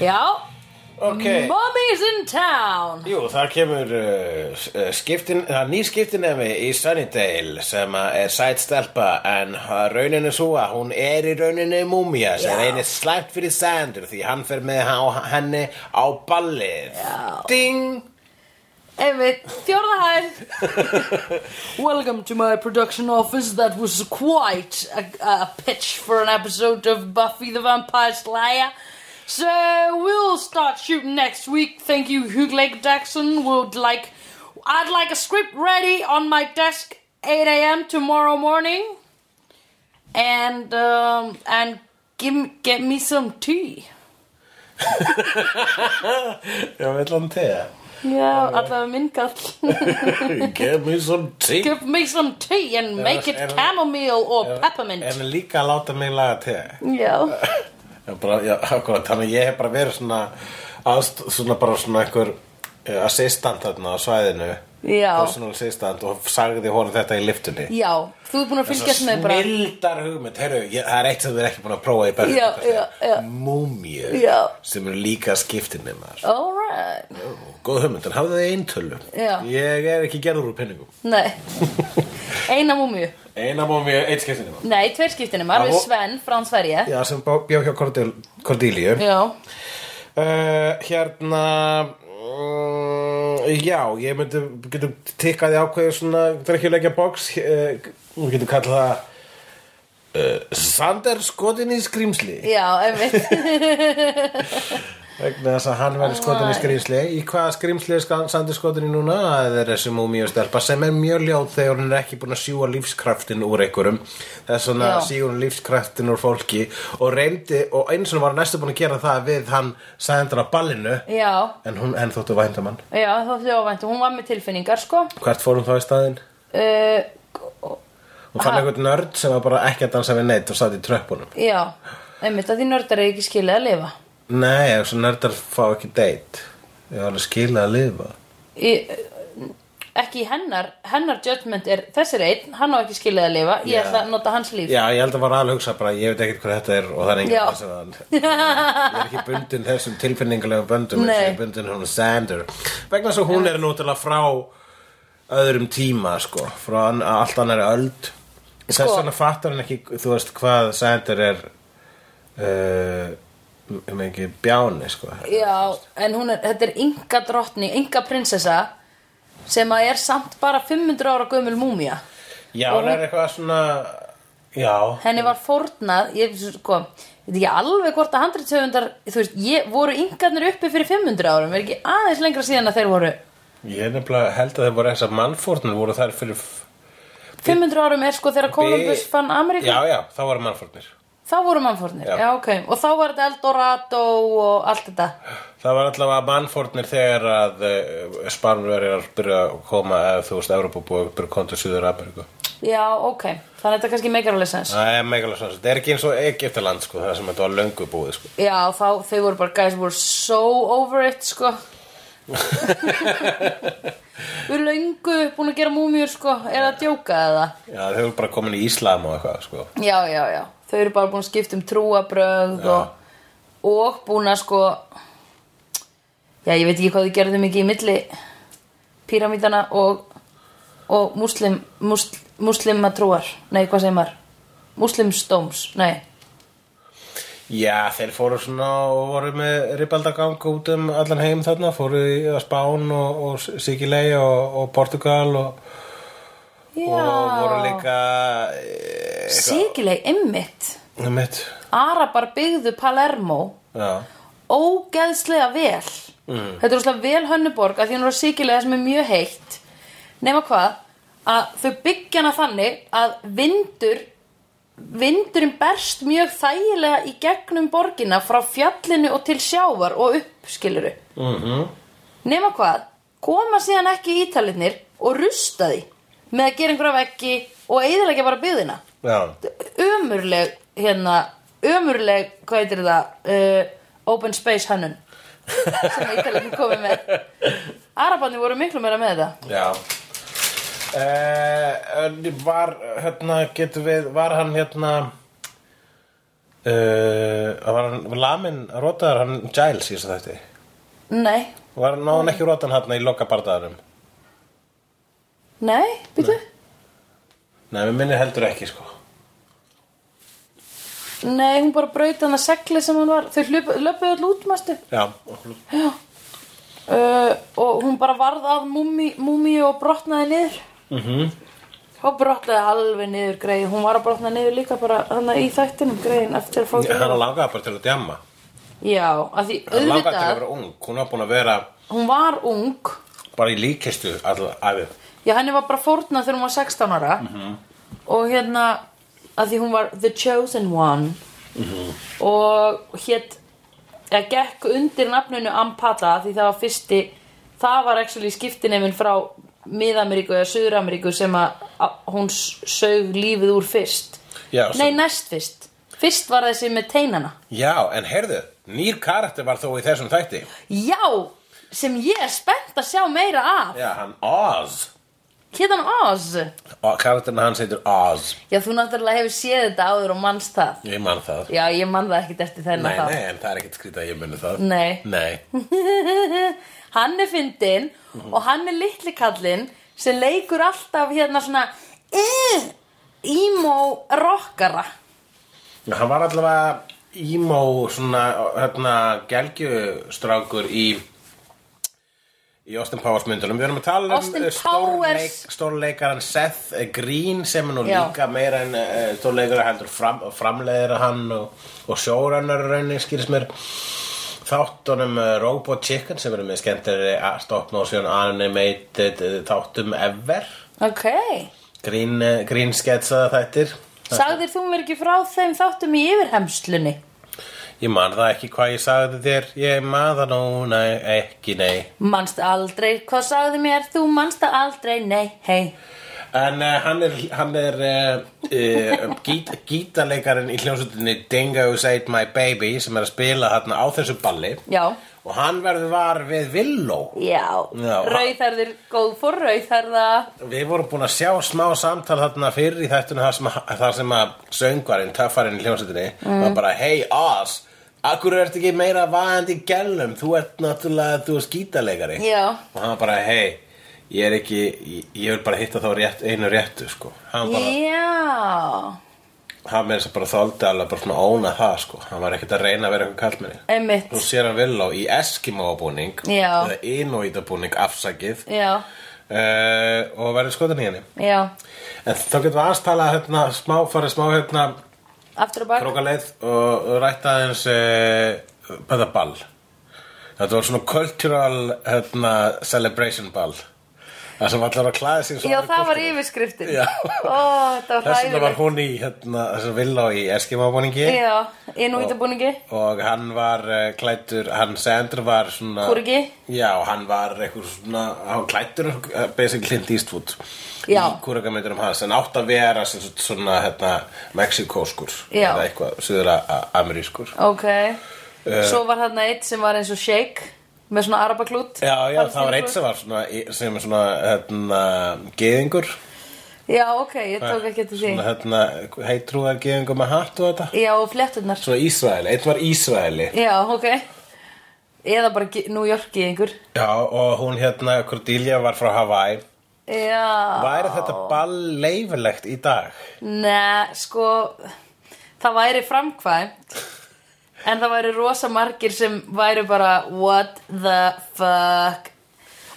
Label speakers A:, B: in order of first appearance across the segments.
A: Já,
B: Ok,
A: Mommy's in town
B: jú, þar kemur uh, s- uh, skiptin, það er ný skiptinemi í Sunnydale sem að er sætstelpa en uh, raunin er svo að hún er í rauninni múmia sem reynir slæmt fyrir Sandur því hann fer með há- henni á ballið
A: Já.
B: Ding!
A: Einmitt, fjórða hæð Welcome to my production office That was quite a, a pitch for an episode of Buffy the Vampire Slayer So we'll start shooting next week Thank you Hugh Jackson Would like I'd like a script ready on my desk 8am tomorrow morning And um, and give, get me some tea
B: Já, við ætlum til það
A: Já, allavega minn kall
B: Give me some tea
A: Give me some tea and make it
B: er-
A: chamomile or
B: En
A: peppermint.
B: líka að láta mig laga te
A: Já.
B: Já, bara, já, akkurat, þannig að ég hef bara verið svona aðst, svona bara svona einhver eh, assistant þarna á svæðinu
A: Já.
B: personal assistant og sagði honum þetta í liftunni
A: Já, þú ert búin að fylgjast með bara.
B: Snildar hugmynd, heyrðu, ég, það er eitt sem við erum ekki búin að prófa í
A: Já, já, já.
B: berðin Múmjur
A: Já.
B: sem eru líka skiptinni maður
A: Alright.
B: Góð hugmynd, en hafðu þið eintölu
A: Já.
B: Ég er ekki gerður úr penningum
A: Nei. Eina múmiu.
B: Eina múmju, eitt skiptinni maður
A: Nei, tveir skiptinum. Alveg
B: Já, og-
A: Sven, frá Sverige.
B: Já, sem bjó bjó hjá Cordel- Cordelia
A: Já.
B: Uh, hérna mm, Já, ég myndi við getum tikkaði ákveðið svona drekkjulegja box uh, við getum kallað það uh, Sander skotin í skrýmsli
A: Já, einmitt.
B: vegna þess að hann verður skotin í
A: Æ.
B: skrýmsli í hvaða skrýmsli er skan- Sander skotin í núna það er þessi múmíustelpa sem er mjög ljóð þegar hún er ekki búin að sjúa lífskraftin úr einhverjum þess vegna
A: Já.
B: sígur hún lífskraftin úr fólki og reyndi og eins og hún var næstu búin að gera það við hann Sander á ballinu
A: Já.
B: En hún, en þóttu vændamann
A: Já, það fyrir óvænt. Hún var með tilfinningar, sko.
B: Hvert fór hún þá í staðinn?
A: Uh,
B: Hún fann
A: Ha.
B: einhvern nörd sem var bara ekki að dansa við neitt og satt í tröppunum
A: já, einmitt að því nördar er ekki skilið að lifa.
B: Nei, ef svo nördar fá ekki deitt Ég var alveg skila að lifa
A: Í, eh, ekki í hennar, hennar judgment er, þessi er einn, hann á ekki skilið að lifa, ég
B: Já.
A: ætla að nota hans líf.
B: Já, ég held að var alveg hugsa bara, ég veit ekkert hvað þetta er og það er enginn
A: Já.
B: þess að hann Ég er ekki bundin þessum tilfinningulega böndum eins og
A: Nei.
B: Ég er bundin hún Sander Vegna þess að hún er náttúrulega frá öðrum tíma, sko Frá an- allt annar öld Þess
A: Sko.
B: vegna fattar hann ekki, þú veist, hvað Sander er uh, um ekki bjáni, sko
A: Já, en hún er, þetta er ynga drottning, ynga prinsessa sem að er samt bara 500 ára gömul múmia.
B: Já, hún er eitthvað svona Já,
A: Henni var fórnað, ég sko, ég veit ekki alveg hvort að handritöfundar, þú veist, ég, voru yngarnir uppi fyrir 500 árum, er ekki aðeins lengra síðan að þeir voru.
B: ég nefnilega held að það voru þessar mannfórnir voru þær fyrir f-
A: 500 árum er sko þegar Columbus
B: Bi-
A: fann Ameríku,
B: Já, já, það voru mannfórnir
A: þá voru mannfórnir,
B: Já.
A: já. ok, og þá var þetta Eldorado og allt þetta.
B: Það var allavega mannfórnir þegar að uh, Spanverjar er að byrja að koma eða þú veist, Evropa búið að byrja að koma til Suður Ameríku
A: Já, ok, þannig að þetta kannski meikar alveg sens.
B: Það er megalega svona, þetta er ekki eins og Egyptaland sko, það sem þetta var löngu búið sko
A: Já, þá, þau voru bara, guys were so over it, sko. Við erum löngu búin að gera múmiur, sko, er það að djóka eða?
B: Já, þau eru bara komin í Íslam og eitthvað sko
A: Já, já, já, þau eru bara búin að skipta um trúabrögð
B: Já.
A: og, og búin að, sko, já, ég veit ekki hvað þau gerðu mikið í milli píramítana og, og muslim, musl, muslimatrúar, nei, hvað segir maður? Muslimstóms, nei,
B: Já, þeir fóru svona og voru með ribbaldagang út um allan heim þarna, fóru í að Spán og, og Sikilei og, og Portugal og,
A: já,
B: og voru líka e,
A: sigileg, einmitt.
B: mitt
A: Arabar byggðu Palermo
B: já,
A: ógeðslega vel þetta er óslega vel hönnuborg að því hún er sýkilega sem er mjög heitt nema hvað að þau byggja hana þannig að vindur vindurinn berst mjög þægilega í gegnum borgina frá fjallinu og til sjávar og upp skiluru -hmm. nema hvað koma síðan ekki ítalinnir og rusta því með að gera einhverja veggi og eiðilegja bara byggðina
B: já,
A: ömurleg hérna, ömurleg, hvað heitir það uh, open space hönnun sem ég tala ekki komið með Arabarnir voru miklu meira með þetta
B: já. Eh, Uh, var hérna getur við, var hann hérna Uh, var hann var lamin rótaður hann Giles í þess að þetta
A: Nei,
B: Var hann náðan ekki rótan hann í lokabardaðarum?
A: nei, býtu
B: Nei, við minni heldur ekki sko
A: nei. hún bara braut hann að segli sem hún var Þau hlup- löpuðu öll út, mástu
B: Já,
A: Já uh, Og hún bara varð að múmi, múmi og brotnaði niður mm
B: Mhm.
A: -hmm. Og brotnaði alveg niður greið Hún var að brotna niður líka bara þannig í þættinum greiðin eftir að fá
B: hann langaði bara til að djamma
A: Já, að því
B: Hann langaði til að
A: auðvitað
B: vera ung, hún var búin að vera
A: Hún var ung
B: bara í líkistu alltaf æfið
A: Já, henni var bara fórna þegar hún var 16 ára
B: Mhm.
A: Og hérna að því hún var the chosen one
B: Mhm.
A: Og hét eða gekk undir nafninu Ampata Því það var fyrsti Það var actually skiptinefin frá Mið-Ameríku eða Suður-Ameríku sem að að hún s- saug lífið úr fyrst
B: Já,
A: Nei,
B: sem-
A: næst fyrst Fyrst var þessi með teinana
B: Já, en heyrðu, nýr karakter var þó í þessum þætti
A: Já, sem ég er spennt að sjá meira af
B: Já, hann Oz
A: Hétan Oz
B: Og karakterna hans heitir Oz
A: Já, þú náttúrulega hefur séð þetta áður og manst það
B: Ég man það
A: Já, ég man það ekkert eftir
B: Nei,
A: þennan
B: nei, en það er ekkert skrýta að ég muni það
A: Nei.
B: Nei,
A: Hann er fyndinn
B: Mhm.
A: og hann er litli kallinn sem leikur alltaf hérna svona "Ugh, emo rockara
B: hann var allavega ímó svona, hérna, gelgjustrákur í í Austin Powers myndunum Við erum að tala
A: Austin
B: um eh,
A: Powers.
B: stórleikaran Seth Green sem er nú
A: Já.
B: líka meira en uh, stórleikara heldur fram, framleiðara hann og, og sjórannar raunin skýrst mér þáttunum uh, Robot Chicken sem eru með skemmtari stop-motion animated eh, þáttum ever
A: Ok,
B: grín, eh, grín sketsaða þættir
A: sagðir þú mér ekki frá þeim þáttum í yfirhemslunni?
B: Ég man það ekki hvað ég sagði þér, ég man það núna ekki, nei.
A: Manst aldrei, hvað sagði mér? Þú manst það aldrei, nei, hei
B: En uh, hann er, hann er uh, uh, gít, gítaleikarin í hljómsutinni Dingo's Ate My Baby sem er að spila þarna á þessu balli
A: Já,
B: og hann verður var við Villó.
A: já,
B: Já.
A: rauðherðir góð fór rauðherða
B: Við vorum búin að sjá smá samtal þarna fyrir í þættunum þar sem, að- þar sem að söngvarinn, töffarinn í hljómsutinni var bara, hey Oz, akkur ertu ekki meira vaðandi í gælum, þú ert náttúrulega, þú ert gítaleikari.
A: Já,
B: og hann var bara hei ég er ekki, ég, ég vil bara hitta þá rétt, einu réttu sko hann bara,
A: já
B: hann með þess að bara þóldi alveg bara svona óna það sko hann var ekkert að reyna að vera eitthvað kallmenni
A: Einmitt,
B: nú sér hann Villó í Eskimo-búning
A: Já.
B: eða Inuit-búning afsakið
A: já,
B: uh, og verður skotin í henni
A: já
B: en þá getum við aðstala hérna smá, farið smá hérna
A: Aftur og bak
B: krókaleið og, og rætta aðeins uh, þetta ball þetta var svona cultural hérna, celebration ball það sem allar að klæða sér svona
A: Já,
B: í
A: það var
B: kúltúr.
A: yfirskriftin
B: Já.
A: Ó, þetta var
B: Þess vegna var
A: hræðilegt
B: hún í hérna, þessum villá í Eskimabúningi
A: Já, inn og ítabúningi
B: og hann var uh, klættur, hann Sandra var svona
A: Kúrgi.
B: Já, hann var eitthvað svona, hann klættur uh, basically Clint Eastwood
A: Já.
B: í kúrgameiturum hans en átt að vera sem sagt svona hérna, mexikóskur
A: Já.
B: eða eitthvað suður amerískur
A: Ok
B: Eh.
A: Svo var þarna eitt sem var eins og shake Með svona arabaklút
B: Já, já, það var
A: Palestínuklút.
B: eitt sem var svona, sem er svona, hérna, geðingur
A: Já, ok, ég tók ekki eftir því
B: Eh, Svona, hérna, heitrúðar geðingur með hatt og þetta
A: Já, og flétturnar
B: Svona Ísraeli, eitt var Ísraeli
A: Já, ok Eða bara Ge- New Yorki einhver
B: Já, og hún hérna, Cordelia var frá Hawaii
A: Já
B: Væri þetta ball leifilegt í dag?
A: Nei, sko Það væri framkvæmt En það væri rosa margir sem væri bara What the fuck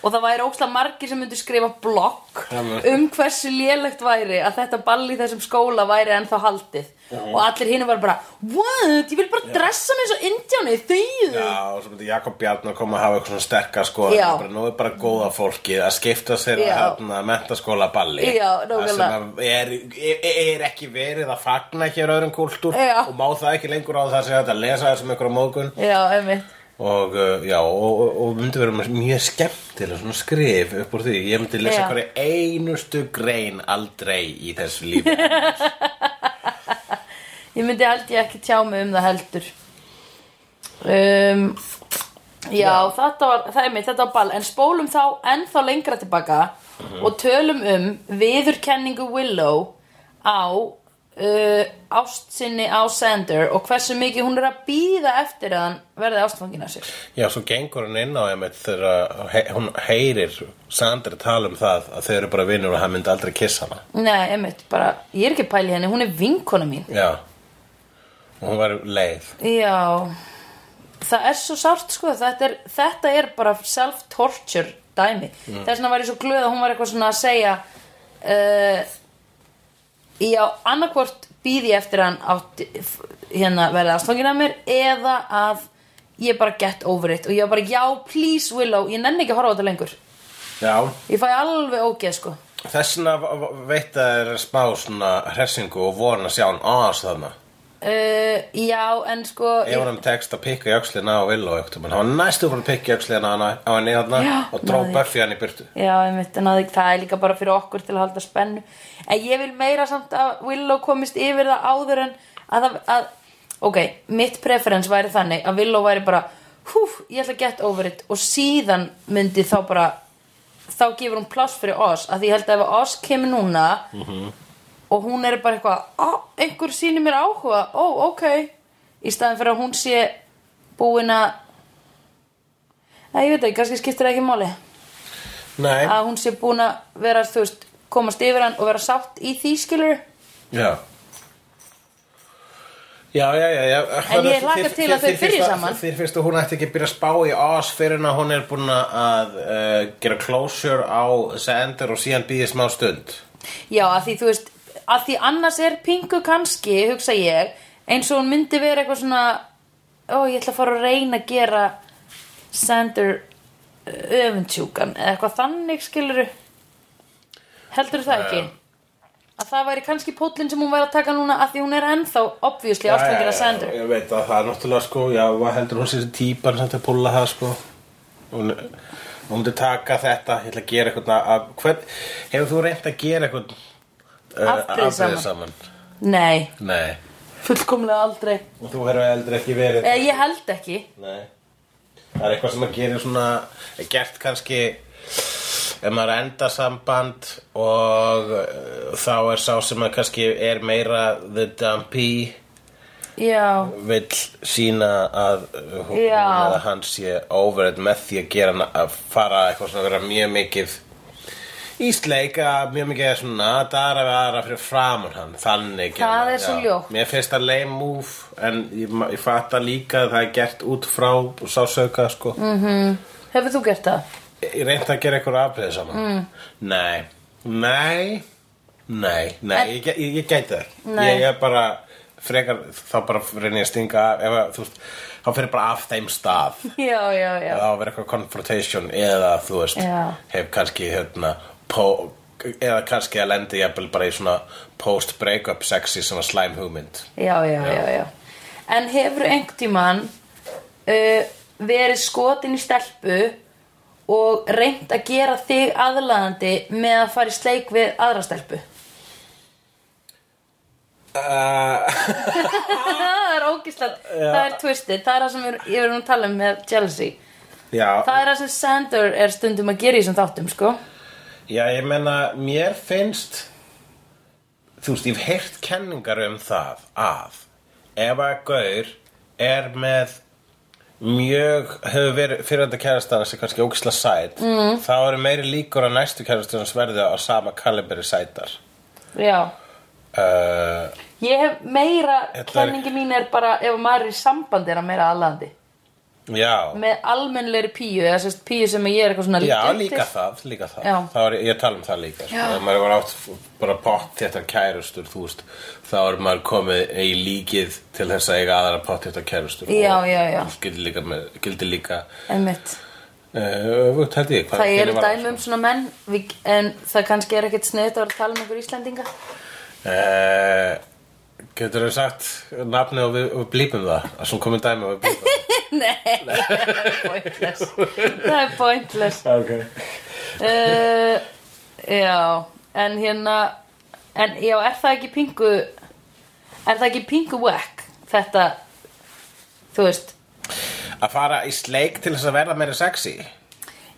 A: Og það væri óslega margir sem myndu skrifa blogg
B: Amen.
A: Um hversu lélegt væri Að þetta ball í þessum skóla væri ennþá haldið Og allir hinn var bara What, ég vil bara dressa mig eins og indjáni Þauðu
B: Já, og svo myndi Jakob Bjarn að koma að hafa eitthvað svona sterka sko
A: Já.
B: bara, Nú er bara góða fólkið að skipta sér að
A: Já.
B: hérna, mentaskóla balli
A: Já,
B: Það
A: nákvæmlega.
B: sem að er, er, er ekki verið að fagna hér öðrum kúltúr
A: Já.
B: Og má það ekki lengur á það sem þetta að lesa þessum ykkur á mógun
A: Já, einmitt
B: og uh, já, og, og- og myndi vera með mjög skemmtilega svona skrif upp úr því, ég myndi lesa
A: Já.
B: hverja einustu grein aldrei í þessu lífi
A: Ég myndi held ég ekki tjá mig um það heldur um, já, þetta var það er mitt, þetta var ball en spólum þá ennþá lengra tilbaka og tölum um viðurkenningu Willow á uh, ást sinni á Sander og hversu mikið hún er að býða eftir að hann verði ástfangin af sér
B: Já, svo gengur hann inn á einmitt þegar he hún heyrir Sandra tala um það að þau eru bara vinnur og hann myndi aldrei kissa hana.
A: Nei, einmitt, bara, ég er ekki að pæla í henni, hún er vinkona mín
B: Já. Og hún var leið.
A: Já, það er svo sárt sko, þetta er, þetta er bara self-torture dæmi
B: Mm.
A: Þess vegna var ég svo glöð að hún var eitthvað svona að segja uh, Já, annarkvort býð ég eftir að hann átti, f- hérna verði aðstofngin að mér eða að ég bara get over it og ég var bara já, please Willow, ég nenni ekki að horfa á þetta lengur
B: Já.
A: Ég fæ alveg ógeð sko
B: Þessna veit að það er spá svona hressingu og vorn að sjá hann aðast þarna.
A: uh, Já, en sko
B: Ef hann tekst um að pikka í öxlina á Willow ekkert um hann. Hann var næstu fyrir að pikka í öxlina hana, á henni þarna
A: Já,
B: og dró
A: náði.
B: Buffy hann í burtu.
A: Já, einmitt, en að, það er líka bara fyrir okkur til að halda spennu. En ég vil meira samt að Willow komist yfir það áður en að, að, að ok, mitt preference væri þannig að Willow væri bara, hú, ég ætla að get over it og síðan myndi þá bara, þá gefur hún pláss fyrir Oz, að því ég held að ef Oz kemur núna og hún er bara eitthvað, á, einhver sýnir mér áhuga, ó, ok, í staðin fyrir að hún sé búin að, Nei, ég veit ekki, kannski skiptir það ekki máli
B: Nei.
A: að hún sé búin að vera, þú veist, komast yfir hann og vera sátt í því skilur
B: Já. Já, já, já, já.
A: En ég
B: Þér-
A: hlakka
B: þér-
A: til að
B: þér
A: þau byrji
B: finnst
A: saman.
B: Þér finnst að hún ætti ekki að byrja að spá í Oz fyrir en að hún er búin að uh, gera closure á Sander og síðan býði smá stund.
A: Já, að því, þú veist, að því annars er pingu kannski, hugsa ég eins og hún myndi vera eitthvað svona ó, ég ætla að fara að reyna að gera Sander uh, öfundsjúkan eða eitthvað þannig skilur heldur það ekki að það væri kannski pótlinn sem hún væri að taka núna að því hún er ennþá obviously ástfangin að Sander
B: Ég veit að það er náttúrulega sko, já, hvað heldur hún sér típan sem þetta púla það sko. Hún, hún myndi taka þetta, ég ætla að gera eitthvað að, hvern, hefur þú reynt að gera eitthvað eh,
A: Afbrýðisaman.
B: saman?
A: Nei,
B: Nei.
A: fullkomlega aldrei
B: Og þú hefur heldur ekki verið
A: eða Eh, ég held ekki
B: Nei. Það er eitthvað sem að gera svona, er gert kannski ef maður endar samband og uh, þá er sá sem að kannski er meira the dumpy
A: Já,
B: vill sína að uh, hún
A: Já.
B: eða hann sé over it með því að gera hann að fara eitthvað svona að vera mjög mikið í sleika mjög mikið svona dara við aðra fyrir framan hann þannig
A: Það
B: gerði hann,
A: er svo
B: já.
A: ljótt.
B: mér finnst það lame move en ég, ma- ég fatta líka að það er gert út frá sásauka sko mm.
A: hefur þú gert það?
B: ég reyndi að gera eitthvað afbreyð saman mm. nei, nei nei, nei,
A: En-
B: ég, gæ- ég, ég gæti það ekki.
A: Nei.
B: ég er bara frekar, þá bara reyni ég að stinga af, ef, að, þú veist, þá fyrir bara af þeim stað
A: Já, já, já.
B: eða á að vera eitthvað confrontation eða þú veist,
A: Já.
B: hef kannski hérna, po, eða kannski að lendi jafnvel bara í svona post breakup sexy svona slæm hugmynd
A: Já, já, já, já. En hefur einhvern tímann uh, verið skotin í stelpu og reynt að gera þig aðlaðandi með að fara í sleik við aðra stelpu?
B: uh,
A: það er ógislega, það er twistið, það er það sem ég- ég er nú að tala um með jealousy.
B: já,
A: Það er það sem Sander er stundum að gera í þessum þáttum, sko.
B: já, ég menna mér finnst þú veist, ég hef heyrt kenningar um það að ef að gaur er með mjög, hefur verið fyrir þetta kærastan sem er kannski ógisla sæt mm. þá eru meiri líkur að næstu kærastan sverði á sama kaliberi sætar
A: Já.
B: uh,
A: Ég hef meira,
B: Þetta er-
A: kenningi mín er bara ef maður er í sambandi er að meira aðlaðandi.
B: Já,
A: með almennlegri píu eða sérst píu sem ég er eitthvað svona
B: já
A: lítil
B: líka
A: til.
B: það, líka það.
A: Já.
B: það var, Ég tala um það líka sko.
A: Já.
B: Ef maður var átt f- bara pott þetta kærustur þú veist, Þá er maður komið í líkið til þess að eiga aðra pott þetta kærustur
A: Já,
B: Og
A: já, já.
B: Gildi líka, með, gildi líka
A: Einmitt.
B: uh, öfugt, held ég, hvað
A: það eru
B: hvernig var
A: dæmi um svona menn við, en það kannski er ekkert sniðt að vera að tala um einhver Íslendinga
B: Eh, Getur þú sagt nafni og við, við blípum það að svona komið dæmi og við blípum það
A: nei, það er pointless það er pointless
B: okay.
A: uh, já, en hérna en já, er það ekki pingu er það ekki pingu whack þetta, þú veist
B: Að fara í sleik til þess að verða meira sexy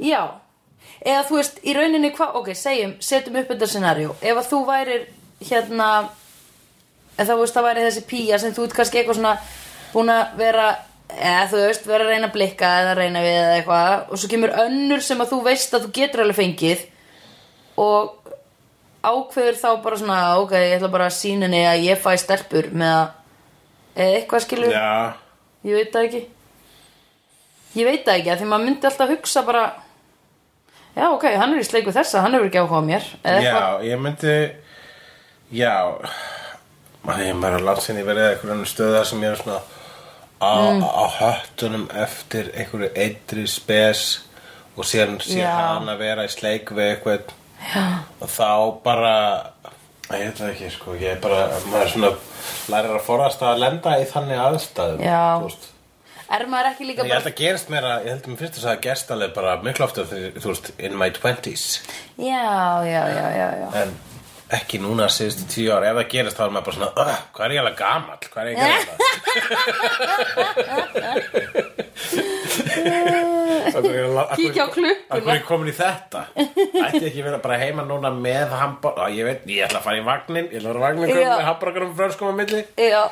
A: Já, eða þú veist, í rauninni hvað, ok, segjum, setjum upp þetta scenario Ef að þú værir hérna en þá veist það væri þessi pía sem þú ert kannski eitthvað svona búin að vera eða þú veist, vera að reyna að blikka eða reyna við eða eitthvað og svo kemur önnur sem að þú veist að þú getur alveg fengið og ákveður þá bara svona ok, ég ætla bara að sína henni að ég fæ stelpur með að eða eitthvað skilur
B: Já,
A: Ég veit það ekki Ég veit það ekki, af því maður myndi alltaf hugsa bara Já, ok, hann er í sleik við þessa, hann hefur ekki áhuga á mér Eða eitthvað,
B: já, ég myndi Já Maður ég maður er langt sinni verið eða einhverjum stöða sem ég er svona á,
A: Mm.
B: á höttunum eftir einhverju eitri spes og síðan sé
A: Já.
B: hann að vera í sleik við eitthvað já. og þá bara Æ, ég veit það ekki sko ég er bara, maður svona lærir að forast að lenda í þannig aðstæðum
A: Já.
B: þú veist.
A: er maður ekki líka
B: Ég held
A: bara
B: að gerist meira, ég held að mér fyrst að það gerst alveg bara miklu ofta þegar, þú veist, in my 20s
A: Já, já, já, já, já
B: en ekki núna síðustu tíu ára ef það gerist þá er maður bara svona "Ugh, hvað er ég alveg gamall, hvað er ég gamall Af hverju er ég la- af
A: Kíkja á
B: hverju-
A: klukkuna.
B: af hverju er ég komin í þetta ætti ég ekki að vera bara heima núna með hambúrgar, ég veit, ég ætla að fara í vagnin ég ætla að fara í vagnin
A: Já.
B: sko, með hambúrgarum fröskum á milli
A: Já,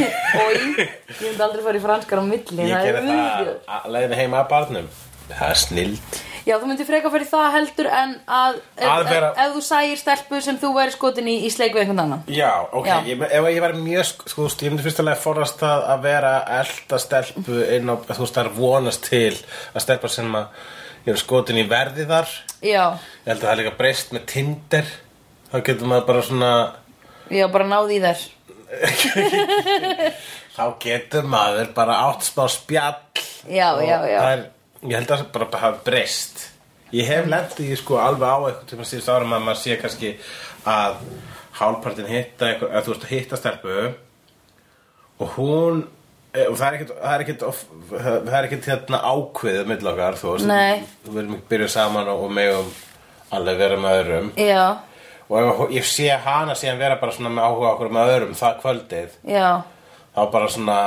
A: og ég ég myndi aldrei fara í franskar á milli
B: ég
A: það er
B: gerði það
A: auðvitað.
B: að leiðinu heima að barnum það er snild
A: Já, þú myndir freka fyrir það heldur en að ef,
B: Að
A: ef,
B: vera-
A: ef þú sæir stelpu sem þú væri skotin í í sleik við einhvern annan
B: Já, ok,
A: Já.
B: Ég, ef ég væri mjög, sk- þú veist, ég myndi fyrst alveg forðast það að vera elda stelpu inn á, þú veist, það er vonast til að stelpa sem að ég er skotin í verði þar,
A: Já,
B: ég held að það er líka breyst með Tinder, þá getur maður bara svona,
A: já, bara náði í þær
B: þá getur maður bara átt smá spjall
A: Já,
B: og
A: já, já
B: það er, ég held að það bara bara hafa breyst ég hef lent í sko alveg á eitthvað tíma síðust árum að maður sé kannski að hálpartin hitta eitthvað, að þú veist að hitta stelpu og hún eh, og það er ekkert það er ekkert, of, það er ekkert hérna ákveðið mill okkar þú veist
A: Nei.
B: þú verðum ekki byrjuð saman og, og megum alveg vera með öðrum
A: Já,
B: og ef hún- ég sé hana síðan vera bara svona með áhuga okkur með öðrum það kvöldið
A: já,
B: þá bara svona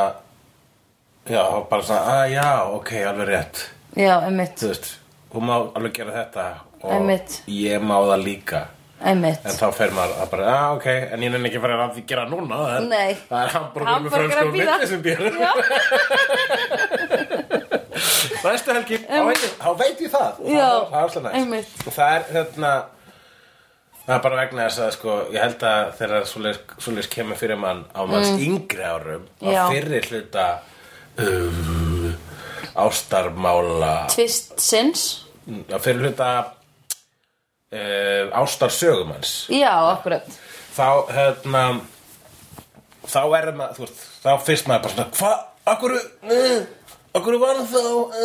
B: já, þá bara svona, að já, ok, alveg rétt
A: já, emmitt
B: þú veist, hún má alveg gera þetta og
A: Einmitt.
B: ég má það líka
A: Einmitt
B: en þá fer maður að bara, ah, ok en ég nenni ekki að fara að því gera núna það er-
A: Nei.
B: það er hambúrgur með
A: Hamborgara
B: frönskum
A: bíða.
B: milli sem býr
A: Já.
B: næstu helgi, þá veit ég- þá veit ég það
A: Já,
B: það, það er alltaf
A: einmitt.
B: næst og það er þarna það er bara vegna þess að sko, ég held að þegar svoleiðis svoleiðis kemur fyrir mann á manns yngri árum á
A: Mm. Já.
B: fyrri hluta uh, ástarmála
A: Tvist sinns
B: að fyrir hluta uh, ástarsögum hans
A: Já, akkurat
B: þá hérna þá er maður, þú veist, þá fyrst maður bara svona, hvað, akkur uh, akkur var hann þá uh,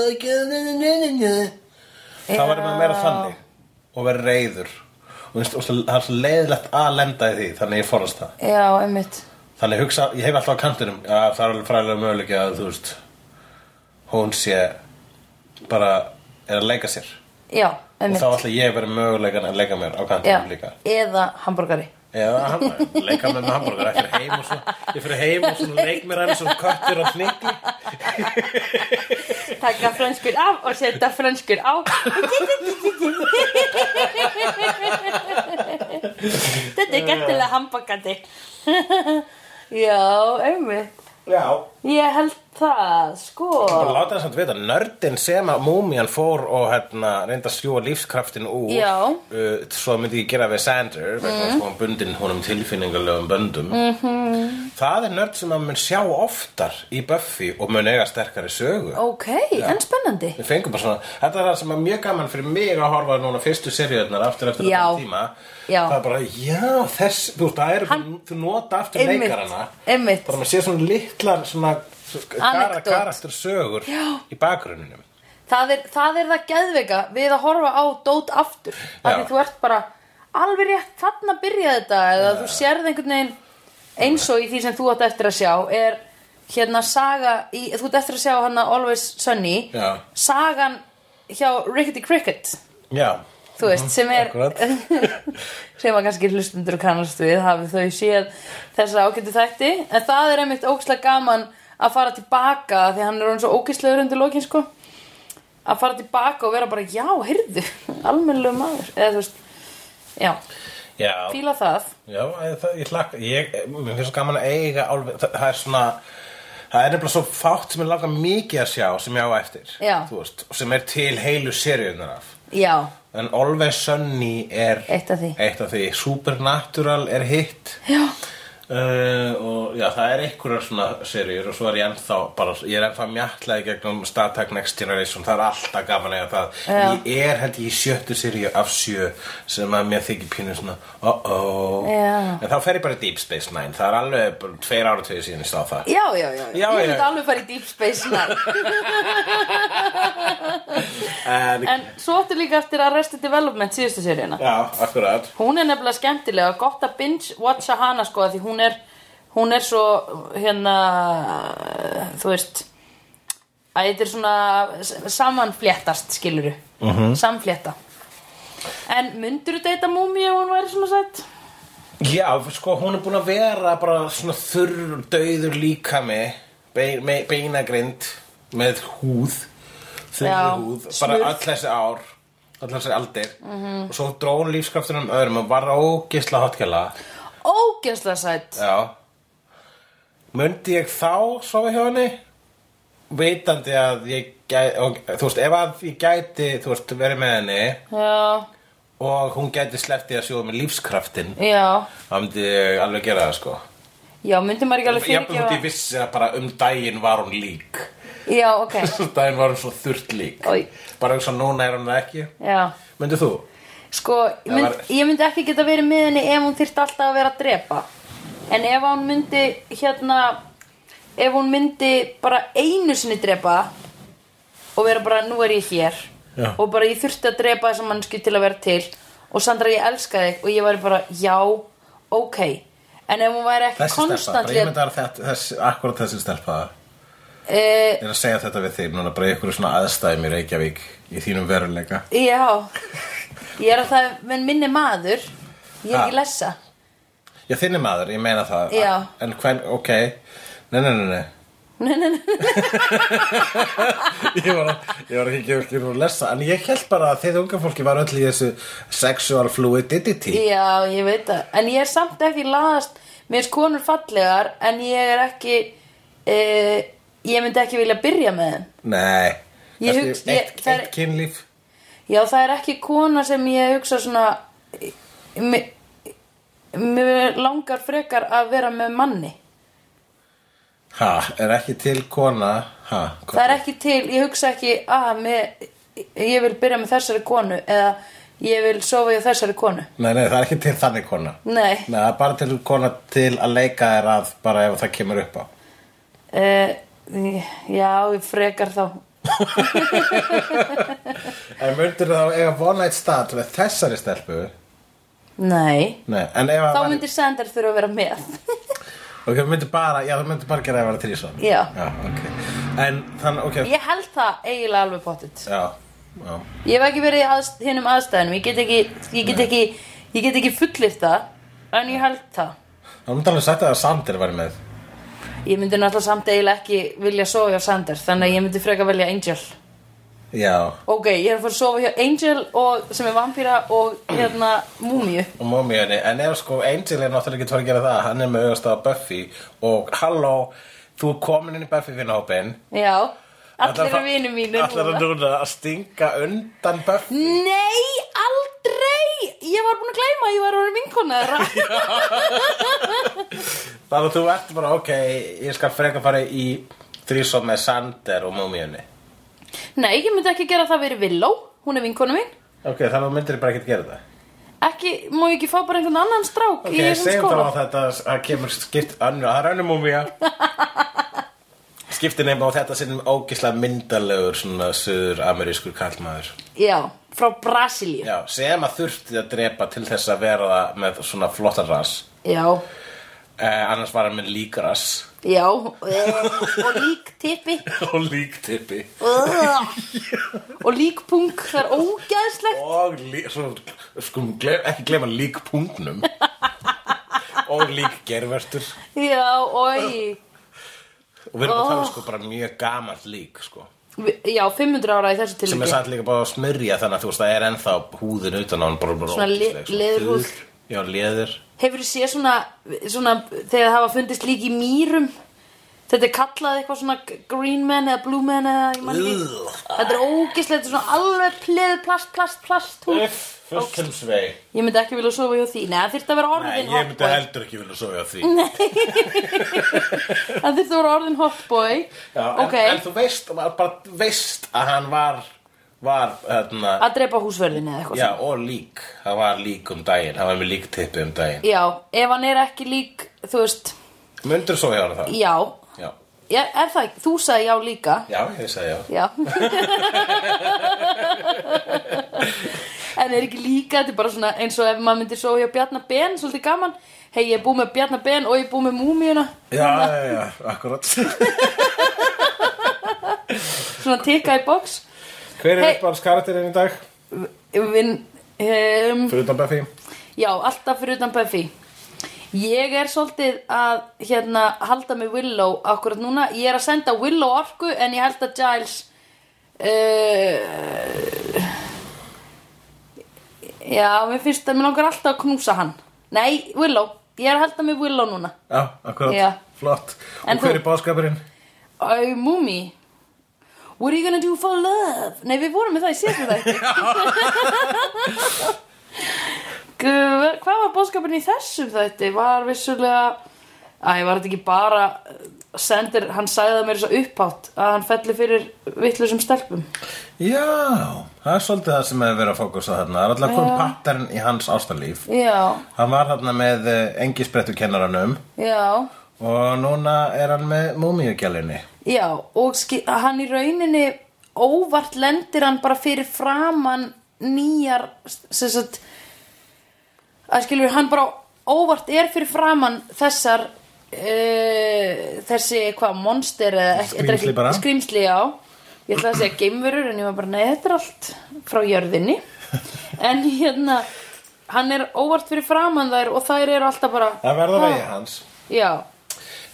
B: þá verður maður meira þannig og verður reyður og, þú veist, og svo- það er svo leiðilegt að lenda í því þannig ég forðast það
A: Já, einmitt
B: þannig hugsa, ég hef alltaf á kantinum að það er alveg fræðilega möguleika að þú veist hún sé bara er að leika sér
A: Já,
B: og
A: einmitt
B: þá ætla ég að vera möguleikan að leika mér á
A: Já,
B: kantinum líka
A: eða hambúrgari
B: eða ham- leika mér með hambúrgar ég fyrir heim og svo, ég fyrir heim og svo leik mér aðeins og köttur og hnikli
A: Taka franskur af og setja franskur á Þetta er gættilega hambúrgari Já, einmitt
B: já,
A: Ég held það, sko
B: bara láta þess að vita nördin sem að múmían fór og hérna reynda að sjúa lífskraftin úr
A: Já.
B: uh, svo myndi ég gera við Sander vegna mm. sko bundin honum tilfinningalegum böndum -hmm. það er nörd sem að mun sjá oftar í Buffy og mun eiga sterkari sögu
A: Ok, en spennandi
B: Við fengum bara svona, þetta er það sem er mjög gaman fyrir mig að horfa núna fyrstu seríunar aftur eftir
A: Já.
B: þetta tíma
A: Já.
B: Það er bara, já, þess, þú veist, það er,
A: Hann-
B: þú nota aftur
A: Einmitt,
B: leikarana
A: einmitt.
B: Bara maður sé svona litlar, svona, kara,
A: Anekdót.
B: karakter sögur já. í bakgrunninum
A: það er, það er það geðveika við að horfa á dót aftur af því
B: Já.
A: þú ert bara alveg rétt þarna byrja þetta eða þú sérð einhvern veginn eins og í því sem þú átt eftir að sjá er hérna saga í, þú átt eftir að sjá hana Always Sunny
B: Já.
A: sagan hjá Rickety Cricket
B: Já,
A: þú veist, sem er
B: akkurat.
A: sem að kannski hlustundur kannast við hafi þau séð þessa ágættu þætti en það er einmitt ógislega gaman að fara tilbaka því hann er hann svo ógislegur undir lokin sko að fara tilbaka og vera bara já, heyrðu, almennilegu maður eða þú veist, já,
B: Já,
A: fíla það
B: já eh, það, ég hlakka, ég, eh, mér finnst svo gaman að eiga álver, það, það er svona, það er nefnilega svo fátt sem ég langar mikið að sjá sem ég á eftir,
A: Já.
B: þú veist, og sem er til heilu seríunar af.
A: já,
B: En Always Sunny er
A: Eitt af því.
B: eitt af því. Supernatural er hitt
A: já,
B: uh, og já, það er einhverjar svona seríur og svo er ég ennþá bara, ég er ennþá mjallaði gegnum Star Trek Next Generation það er alltaf gaman eða það ég er held ég í sjöttu seríu af sjö sem að mér þykir pínu svona oh oh
A: Já.
B: en þá fer ég bara í Deep Space Nine það er alveg bara tveir ára tvegir síðan ég sá það
A: já, já, já,
B: Já,
A: ég
B: já.
A: myndi alveg fara í Deep Space Nine
B: en,
A: en svo áttu líka eftir Arrested Development síðustu seríuna
B: já, akkurat
A: hún er nefnilega skemmtilega, gott að binge-watcha hana sko, af því hún er hún er svo, hérna þú veist að þetta er svona s- samanfléttast, skiluru mm
B: Mhm.
A: -hmm. samflétta en myndirðu deyta múmi ef hún væri svona sætt?
B: Já, sko, hún er búin að vera bara svona þurr, dauður líkami be- me- beinagrind með húð
A: Já,
B: þurr húð, bara
A: smurð.
B: öll þessi ár öll þessi aldir -hmm. og svo drón lífskraftunum öðrum og var ógisla hotkjala
A: ógeðslega sætt
B: Já Möndi ég þá sofa hjá henni vitandi að ég gæti, og, þú veist, ef að ég gæti þú veist, verið með henni
A: já,
B: og hún gæti sleppt í að sjóða með lífskraftin
A: já
B: þá myndi ég alveg gera það, sko
A: já, myndi maður ekki alveg
B: Jafnvel þótt ég
A: fyrirgefa
B: vissi að bara um daginn var hún lík Um
A: já, ok,
B: Daginn var hún svo þurrt lík
A: Oj.
B: Bara eins og núna er hún það ekki
A: já
B: Myndið þú?
A: Sko, ég mynd,
B: var-
A: ég myndi ekki geta verið með henni ef hún þyrfti alltaf að vera að drepa En ef hún myndi, hérna, ef hún myndi bara einu sinni drepa Og vera bara, nú er ég hér
B: Já.
A: Og bara ég þurfti að drepa þessa mannsku til að vera til Og Sandra, ég elska þig Og ég væri bara, já, ok En ef hún væri ekki
B: Þessi stelpa, bara
A: konstantli
B: ég myndi að þetta, þess, akkurat þessi stelpa
A: uh,
B: Ég er að segja þetta við þig núna bara í einhverju svona aðstæðum í Reykjavík í þínum veruleika
A: Já, ég er að það, menn minni maður Ég er
B: Ha.
A: ekki lessa
B: Já, þinni maður, ég meina það
A: Já.
B: En hvern, ok Nei, nei, nei, nei
A: Nei, nei, nei
B: Ég var, að- ég var ekki gefur skilur að lesa En ég held bara að þið unga fólki var öll í þessu sexual fluidity
A: Já, ég veit það En ég er samt ekki laðast Mér er konur fallegar En ég er ekki uh, Ég myndi ekki vilja byrja með þeim
B: Nei
A: Ég
B: Kannski
A: hugsa- ég-
B: Eitt,
A: það er-
B: eitt kynlíf
A: Já, það er ekki kona sem ég hugsa svona Mér mér langar frekar að vera með manni
B: Ha, er ekki til kona ha, hvað-
A: Það er ekki til, ég hugsa ekki að mér, ég vil byrja með þessari konu eða ég vil sofa hjá þessari konu
B: Nei, nei, það er ekki til þannig kona
A: Nei,
B: Nei, það er bara til kona til að leika þér að bara ef það kemur upp á
A: uh, já, ég frekar þá
B: En myndir þá eiga one night stand með þessari stelpu
A: Nei,
B: Nei, en ef
A: þá
B: að
A: myndir Sander þurfa að vera með
B: Ok, þú myndir bara, já, þú myndir bara gera ef það er þrísan
A: Já.
B: Já, ok En þannig, ok
A: Ég held það eiginlega alveg pottitt.
B: Já, já
A: Ég hef ekki verið í aðst, hinnum aðstæðunum, ég get ekki, ég get ekki, ég get ekki fullir það, en ég held það.
B: Það myndi alveg sagt að Sander væri með
A: Ég myndi náttúrulega samt eiginlega ekki vilja sofa hjá Sander, þannig að ég myndi frekar velja Angel.
B: Já,
A: Ok, ég er að fara að sofa hjá Angel og, sem er vampýra og hérna múmiu.
B: og mómiðinni En ef sko Angel er náttúrulega ekki tvað að gera það Hann er með auðvast á Buffy Og halló, þú er komin inn í Buffy vinnahópin
A: Já, allir
B: Ætlar
A: eru
B: að-
A: vinum mínu
B: Ætlar að núna að stinga undan Buffy
A: Nei, aldrei! Ég var búin að gleyma að ég var að vera vinkona þeirra.
B: Þannig að þú ert bara, ok, ég skal freka fara í þrísom með Sander og múmíunni.
A: Nei, ég myndi ekki gera það fyrir Villó, hún er vinkona mín.
B: Ok, þannig að þú myndir bara ekkert gera það.
A: ekki, má ég ekki fá bara einhvern annan strák
B: Ok,
A: í þessum
B: segjum þá
A: skóla
B: að þetta að kemur skipt önnu, það er önnu múmía. Skiptin er á þetta sinnum ógislega myndalegur svona suður-amerískur kallmaður.
A: já, frá Brasilíu já.
B: Já, sem að þurfti að drepa til þess að vera það með svona flottan rass.
A: já,
B: Eh, annars var hann með líkrass
A: og, og lík tippi
B: og líktippi.
A: og lík punk það er ógæðslegt
B: og lí, svo, skum, glef, ekki glema líkpunktnum og lík gervertur
A: já, oi
B: og við erum að tala
A: Oh.
B: sko bara mjög gamalt lík sko
A: Vi- já, 500 ára í þessu
B: sem er
A: tilviki
B: satt líka bara að smyrja þannig að þú veist það er ennþá húðin utan á hann bara bara
A: svona le
B: ógeðsleg, sko.
A: leðurhúð
B: þurr. Já, leður
A: Hefur þið séð svona, svona þegar það hafa fundist lík í mýrum Þetta er kallað eitthvað svona green man eða blue man eða ég mann ekki
B: Ugh.
A: Þetta er ógislegt svona alveg pleð plast, plast, plast hún.
B: Fullum svei
A: Ég myndi ekki vilja sofa hjá því Nei, það þyrfti að vera
B: Nei,
A: orðin
B: ég myndi
A: hotboy
B: heldur ekki vilja sofa á því
A: Það þyrfti að vera orðin hotboy
B: Já, en,
A: Ok,
B: en þú veist, maður bara veist að hann var, var hérna,
A: að drepa húsverðin eða eitthvað
B: já, og lík, hann var lík um daginn, hann var með líktippi um daginn.
A: Já, ef hann er ekki lík, þú veist
B: Mundur svo hjá hann það?
A: Já,
B: Já,
A: já er það ekki, þú sagði já líka
B: já, ég sagði já.
A: Já En er ekki líka Þetta er bara svona eins og ef maður myndir svo hjá Bjarna Ben Svolítið gaman Hei ég er búið með Bjarna Ben og ég er búið með múmíuna
B: Já, já, já, akkurat.
A: Svona tikka í box
B: Hver er
A: Hey.
B: hey. uppáhalds karakterinn í dag?
A: Vin, um,
B: Fyrir utan Buffy?
A: Já alltaf fyrir utan Buffy Ég er svolítið að hérna, halda með Willow akkurat núna Ég er að senda Willow orku en ég held að Giles uh, Já, mér finnst að mér langar alltaf að knúsa hann Nei, Willow, ég er að halda með Willow núna
B: Já, akkurat.
A: Já.
B: Flott.
A: En
B: og hver
A: þú?
B: er báskapurinn?
A: Æ, Mumi What are you gonna do for love? Nei, við vorum með það í síðan það Hvað var bóðskapin í þessum þætti? Var vissulega Æ, var þetta ekki bara eh, Sendir, hann sagði það mér svo upphátt að hann felli fyrir vittlusum stelpum
B: Já, það er svolítið það sem hefur verið að fókusa þarna. Það er alltaf
A: Já.
B: komið pattern í hans ástarlíf.
A: Já,
B: Hann var þarna með eh, engisbrettu kennaranum
A: já
B: og núna er hann með múmiugjalinni.
A: Já, og ski- hann í rauninni óvart lendir hann bara fyrir framan nýjar sem sagt að skilur, hann bara óvart er fyrir framan þessar uh, þessi, hvað, monster eða ekki- þetta er
B: Skrímsli bara.
A: ekki, skrýmsli, já ég ætla að segja geimverur en ég var bara nei, þetta er allt frá jörðinni en hérna hann er óvart fyrir framan þær og þær eru alltaf bara
B: Það verður
A: "Ha?"
B: vegið hans.
A: já,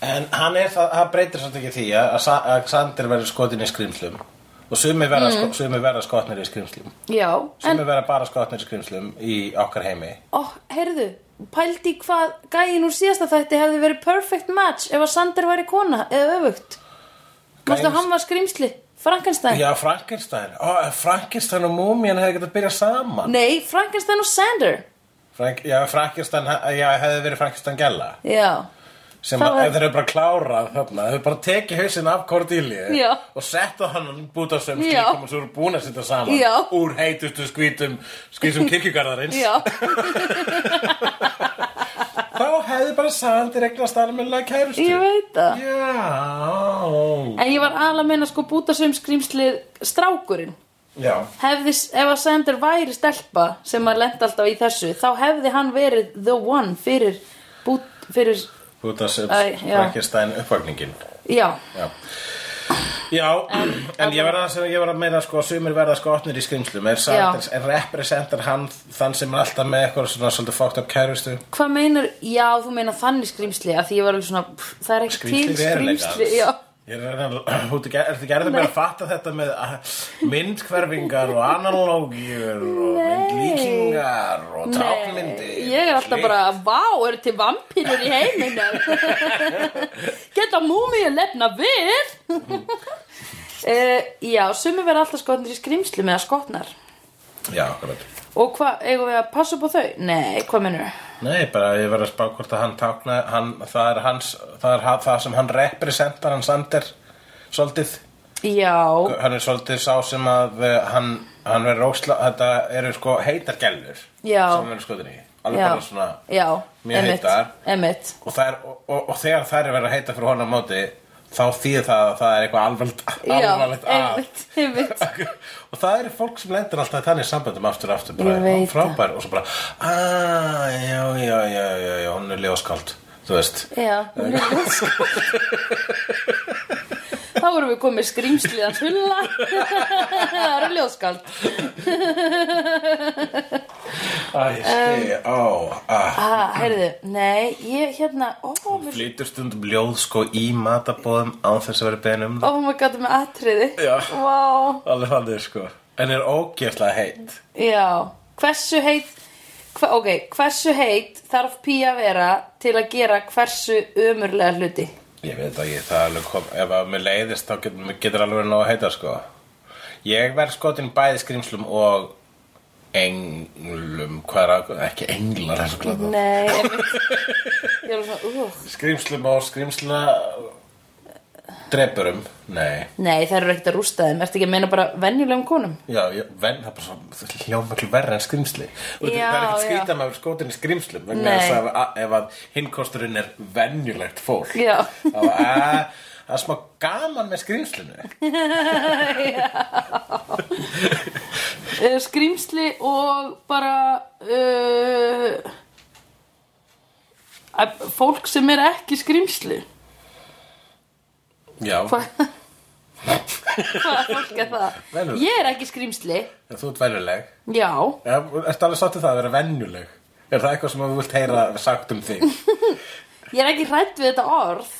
B: En hann er það, það breytir svolítið ekki því að, Sa- að Sander verður skotin í skrimslum og sumi verða, mm. sko, sumi verða skotnir í skrimslum.
A: já
B: Sumi verða bara skotnir í skrimslum í okkar heimi.
A: Ó, heyrðu, pældi í hvað gæin úr síðasta þætti hefði verið perfect match ef að Sander væri kona eða öfugt. Mástu
B: Gæinn-
A: að hann var skrimsli, Frankenstein.
B: Já, Frankenstein. Ó, ef Frankenstein og múmían hefði getað byrjað saman.
A: Nei, Frankenstein og Sander.
B: Frank, já, Frankenstein, já, hefði verið Frankenstein gæla.
A: Já,
B: Sem
A: Það
B: að,
A: var-
B: ef þeir eru bara klárað þarna, þeir eru bara tekið hausinn af Cordelia
A: Já.
B: og setta hann búta sem
A: Já.
B: slíkum og svo eru búin að setja saman
A: Já.
B: úr heitustu skvítum, skvítum kirkjugarðarins.
A: já,
B: Þá hefði bara Sander eignast almennilega kærustu.
A: ég veit það.
B: Já.
A: En ég var aðla að meina sko búta sem skrimslið strákurinn.
B: Já.
A: Hefði, ef að Sander væri stelpa sem að lenda alltaf í þessu, þá hefði hann verið the one fyrir bút, fyrir,
B: Búta sem
A: Æ, já.
B: Frankenstein uppvagningin.
A: já,
B: Já. Já, en, ég verða að, ég var að meina sko að sumir verða skotnir í skrimslum. Er Sander, er representar hann þann sem er alltaf með eitthvað svona svolítið fókt upp kærustu?
A: Hvað meinar, já þú meinar þannig skrýmsli að því ég var alveg svona, pff, það er ekki til skrýmsli, já,
B: Ég er að ertu gerðið með að fatta þetta með að- myndhverfingar og analógíur og myndlíkingar og tákmyndir.
A: ég er alltaf bara, vá, eru til vampýrur í heiminu, geta múmið að lefna við,
B: Mm.
A: uh, já, sumi verða alltaf skotnir í skrýmsli með að skotnar,
B: Já, akkurat.
A: og hvað, eigum við að passa upp á þau, nei, hvað meinar,
B: Nei, bara ég verið að spá hvort að hann tákna hann, það, er hans, það er ha- það sem hann representar hann Sander svolítið
A: já,
B: hann er svolítið sá sem að eh, hann, hann verið róksla þetta eru sko heitar gælur
A: Já.
B: sem verið skoðin í alveg
A: já,
B: bara svona
A: já,
B: Mjög
A: emitt,
B: heitar.
A: emitt,
B: og, þær, og, og, og þegar þær er verið að heita fyrir honum á móti þá þýð það að það er eitthvað alvarlegt
A: já,
B: alvarlegt að
A: emitt, emitt.
B: og það eru fólk sem lendir alltaf í þannig samböndum aftur og aftur
A: Ég
B: bara
A: veit
B: frábær og svo bara aaa, já, já, já, já, já, hún er ljóskáld þú veist
A: Já, hún er ljóskáld Þá erum við komið skrýmslið hans hulla Það eru ljóskáld
B: Æ, skil, á, á
A: ah, Heyrðu, nei, ég hérna Ó, mér,
B: Flytur stundum ljóð sko í matabóðum á þess að vera beðin um það
A: oh my god, með atriði
B: Já.
A: Vá,
B: Alveg hann er sko En er ógeðslega heitt
A: já Hversu heit Hva, ok, hversu heit þarf Pía að vera til að gera hversu ömurlega hluti?
B: Ég veit ekki, það er alveg kom, ef að mér leiðist þá getur, getur alveg nóg að heita sko. Ég verð skotin bæði skrýmslum og englum, hvað er að, ekki englar, sko. það er svo glada.
A: Nei, ég veit, ég er alveg svona, uh.
B: Skrýmslum og skrýmsla drepurum, nei.
A: Nei, það eru ekkert að rústa þeim, ertu ekki að meina bara venjulegum konum?
B: Já, já, venn, það er bara svo það hljóma ekki verra en skrimsli og
A: Já,
B: það er ekkert
A: já.
B: skrýta með skotin í skrimslum vegna
A: Nei.
B: þess að að- ef að hinnkosturinn er venjulegt fólk
A: Já.
B: þá að það er smá gaman með skrimslinu
A: Uh, skrýmsli og bara uh, að- fólk sem er ekki skrýmsli.
B: Já,
A: Hvað hvaða fólk er það?
B: Venjulegt.
A: Ég er ekki skrýmsli,
B: en þú ert venjuleg
A: já.
B: ja, Ertu alveg sáttið það að vera venjuleg? Er það eitthvað sem þú vilt heyra sagt um þig?
A: Ég er ekki hrætt við þetta orð.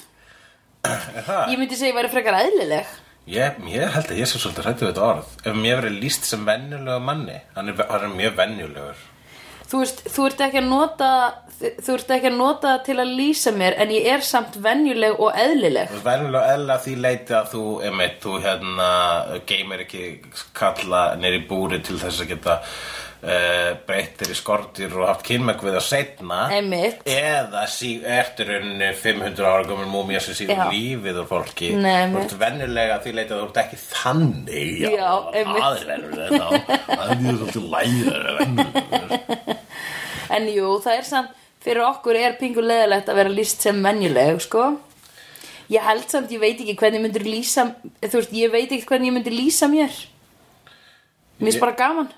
B: Er það?
A: Ég myndi segja að ég væri frekar eðlileg.
B: Ég, ég held að ég sé svolítið hrættu við þetta orð Ef mér verið líst sem venjulega manni Hann er, hann er mjög venjulegur
A: Þú veist, þú ert ekki að nota þú ert ekki að nota það til að lýsa mér en ég er samt venjuleg og eðlileg.
B: Þú ert verðilega eðla því leiti að þú, einmitt, þú hérna, geymir ekki kalla nýri búri til þess að geta uh, breyttir í skortir og haft kynmæk við að setna.
A: Einmitt.
B: Eða sí, ertu rauninni 500 ára gömur múmia sem sígur
A: Já.
B: lífið úr fólki.
A: Nei,
B: þú
A: einmitt.
B: ert venjulega að því leiti að þú ert ekki þannig.
A: Já, einmitt.
B: Það er venjulega þá. Það er mjög svolítið læður. venjulegur.
A: En jú, það er samt, fyrir okkur er pingu leðilegt að vera lýst sem venjuleg, sko. Ég held samt, ég veit ekki hvernig myndir lýsa, þú veist, ég veit ekki hvernig ég myndir lýsa mér. Mér
B: Ég-
A: finnst bara gaman.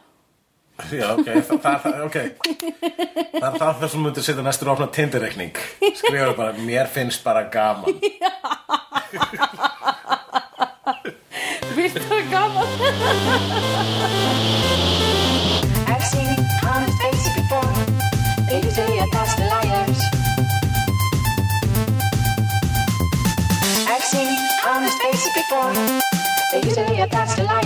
B: Já, ok, það, það, það, okay. það er það þessum myndir setja næstur opna tindirreikning Skrifaðu bara, mér finnst bara gaman
A: Mér finnst bara gaman.
C: I've seen honest faces before. They usually are past liars. I've seen honest faces before. They usually are past liars.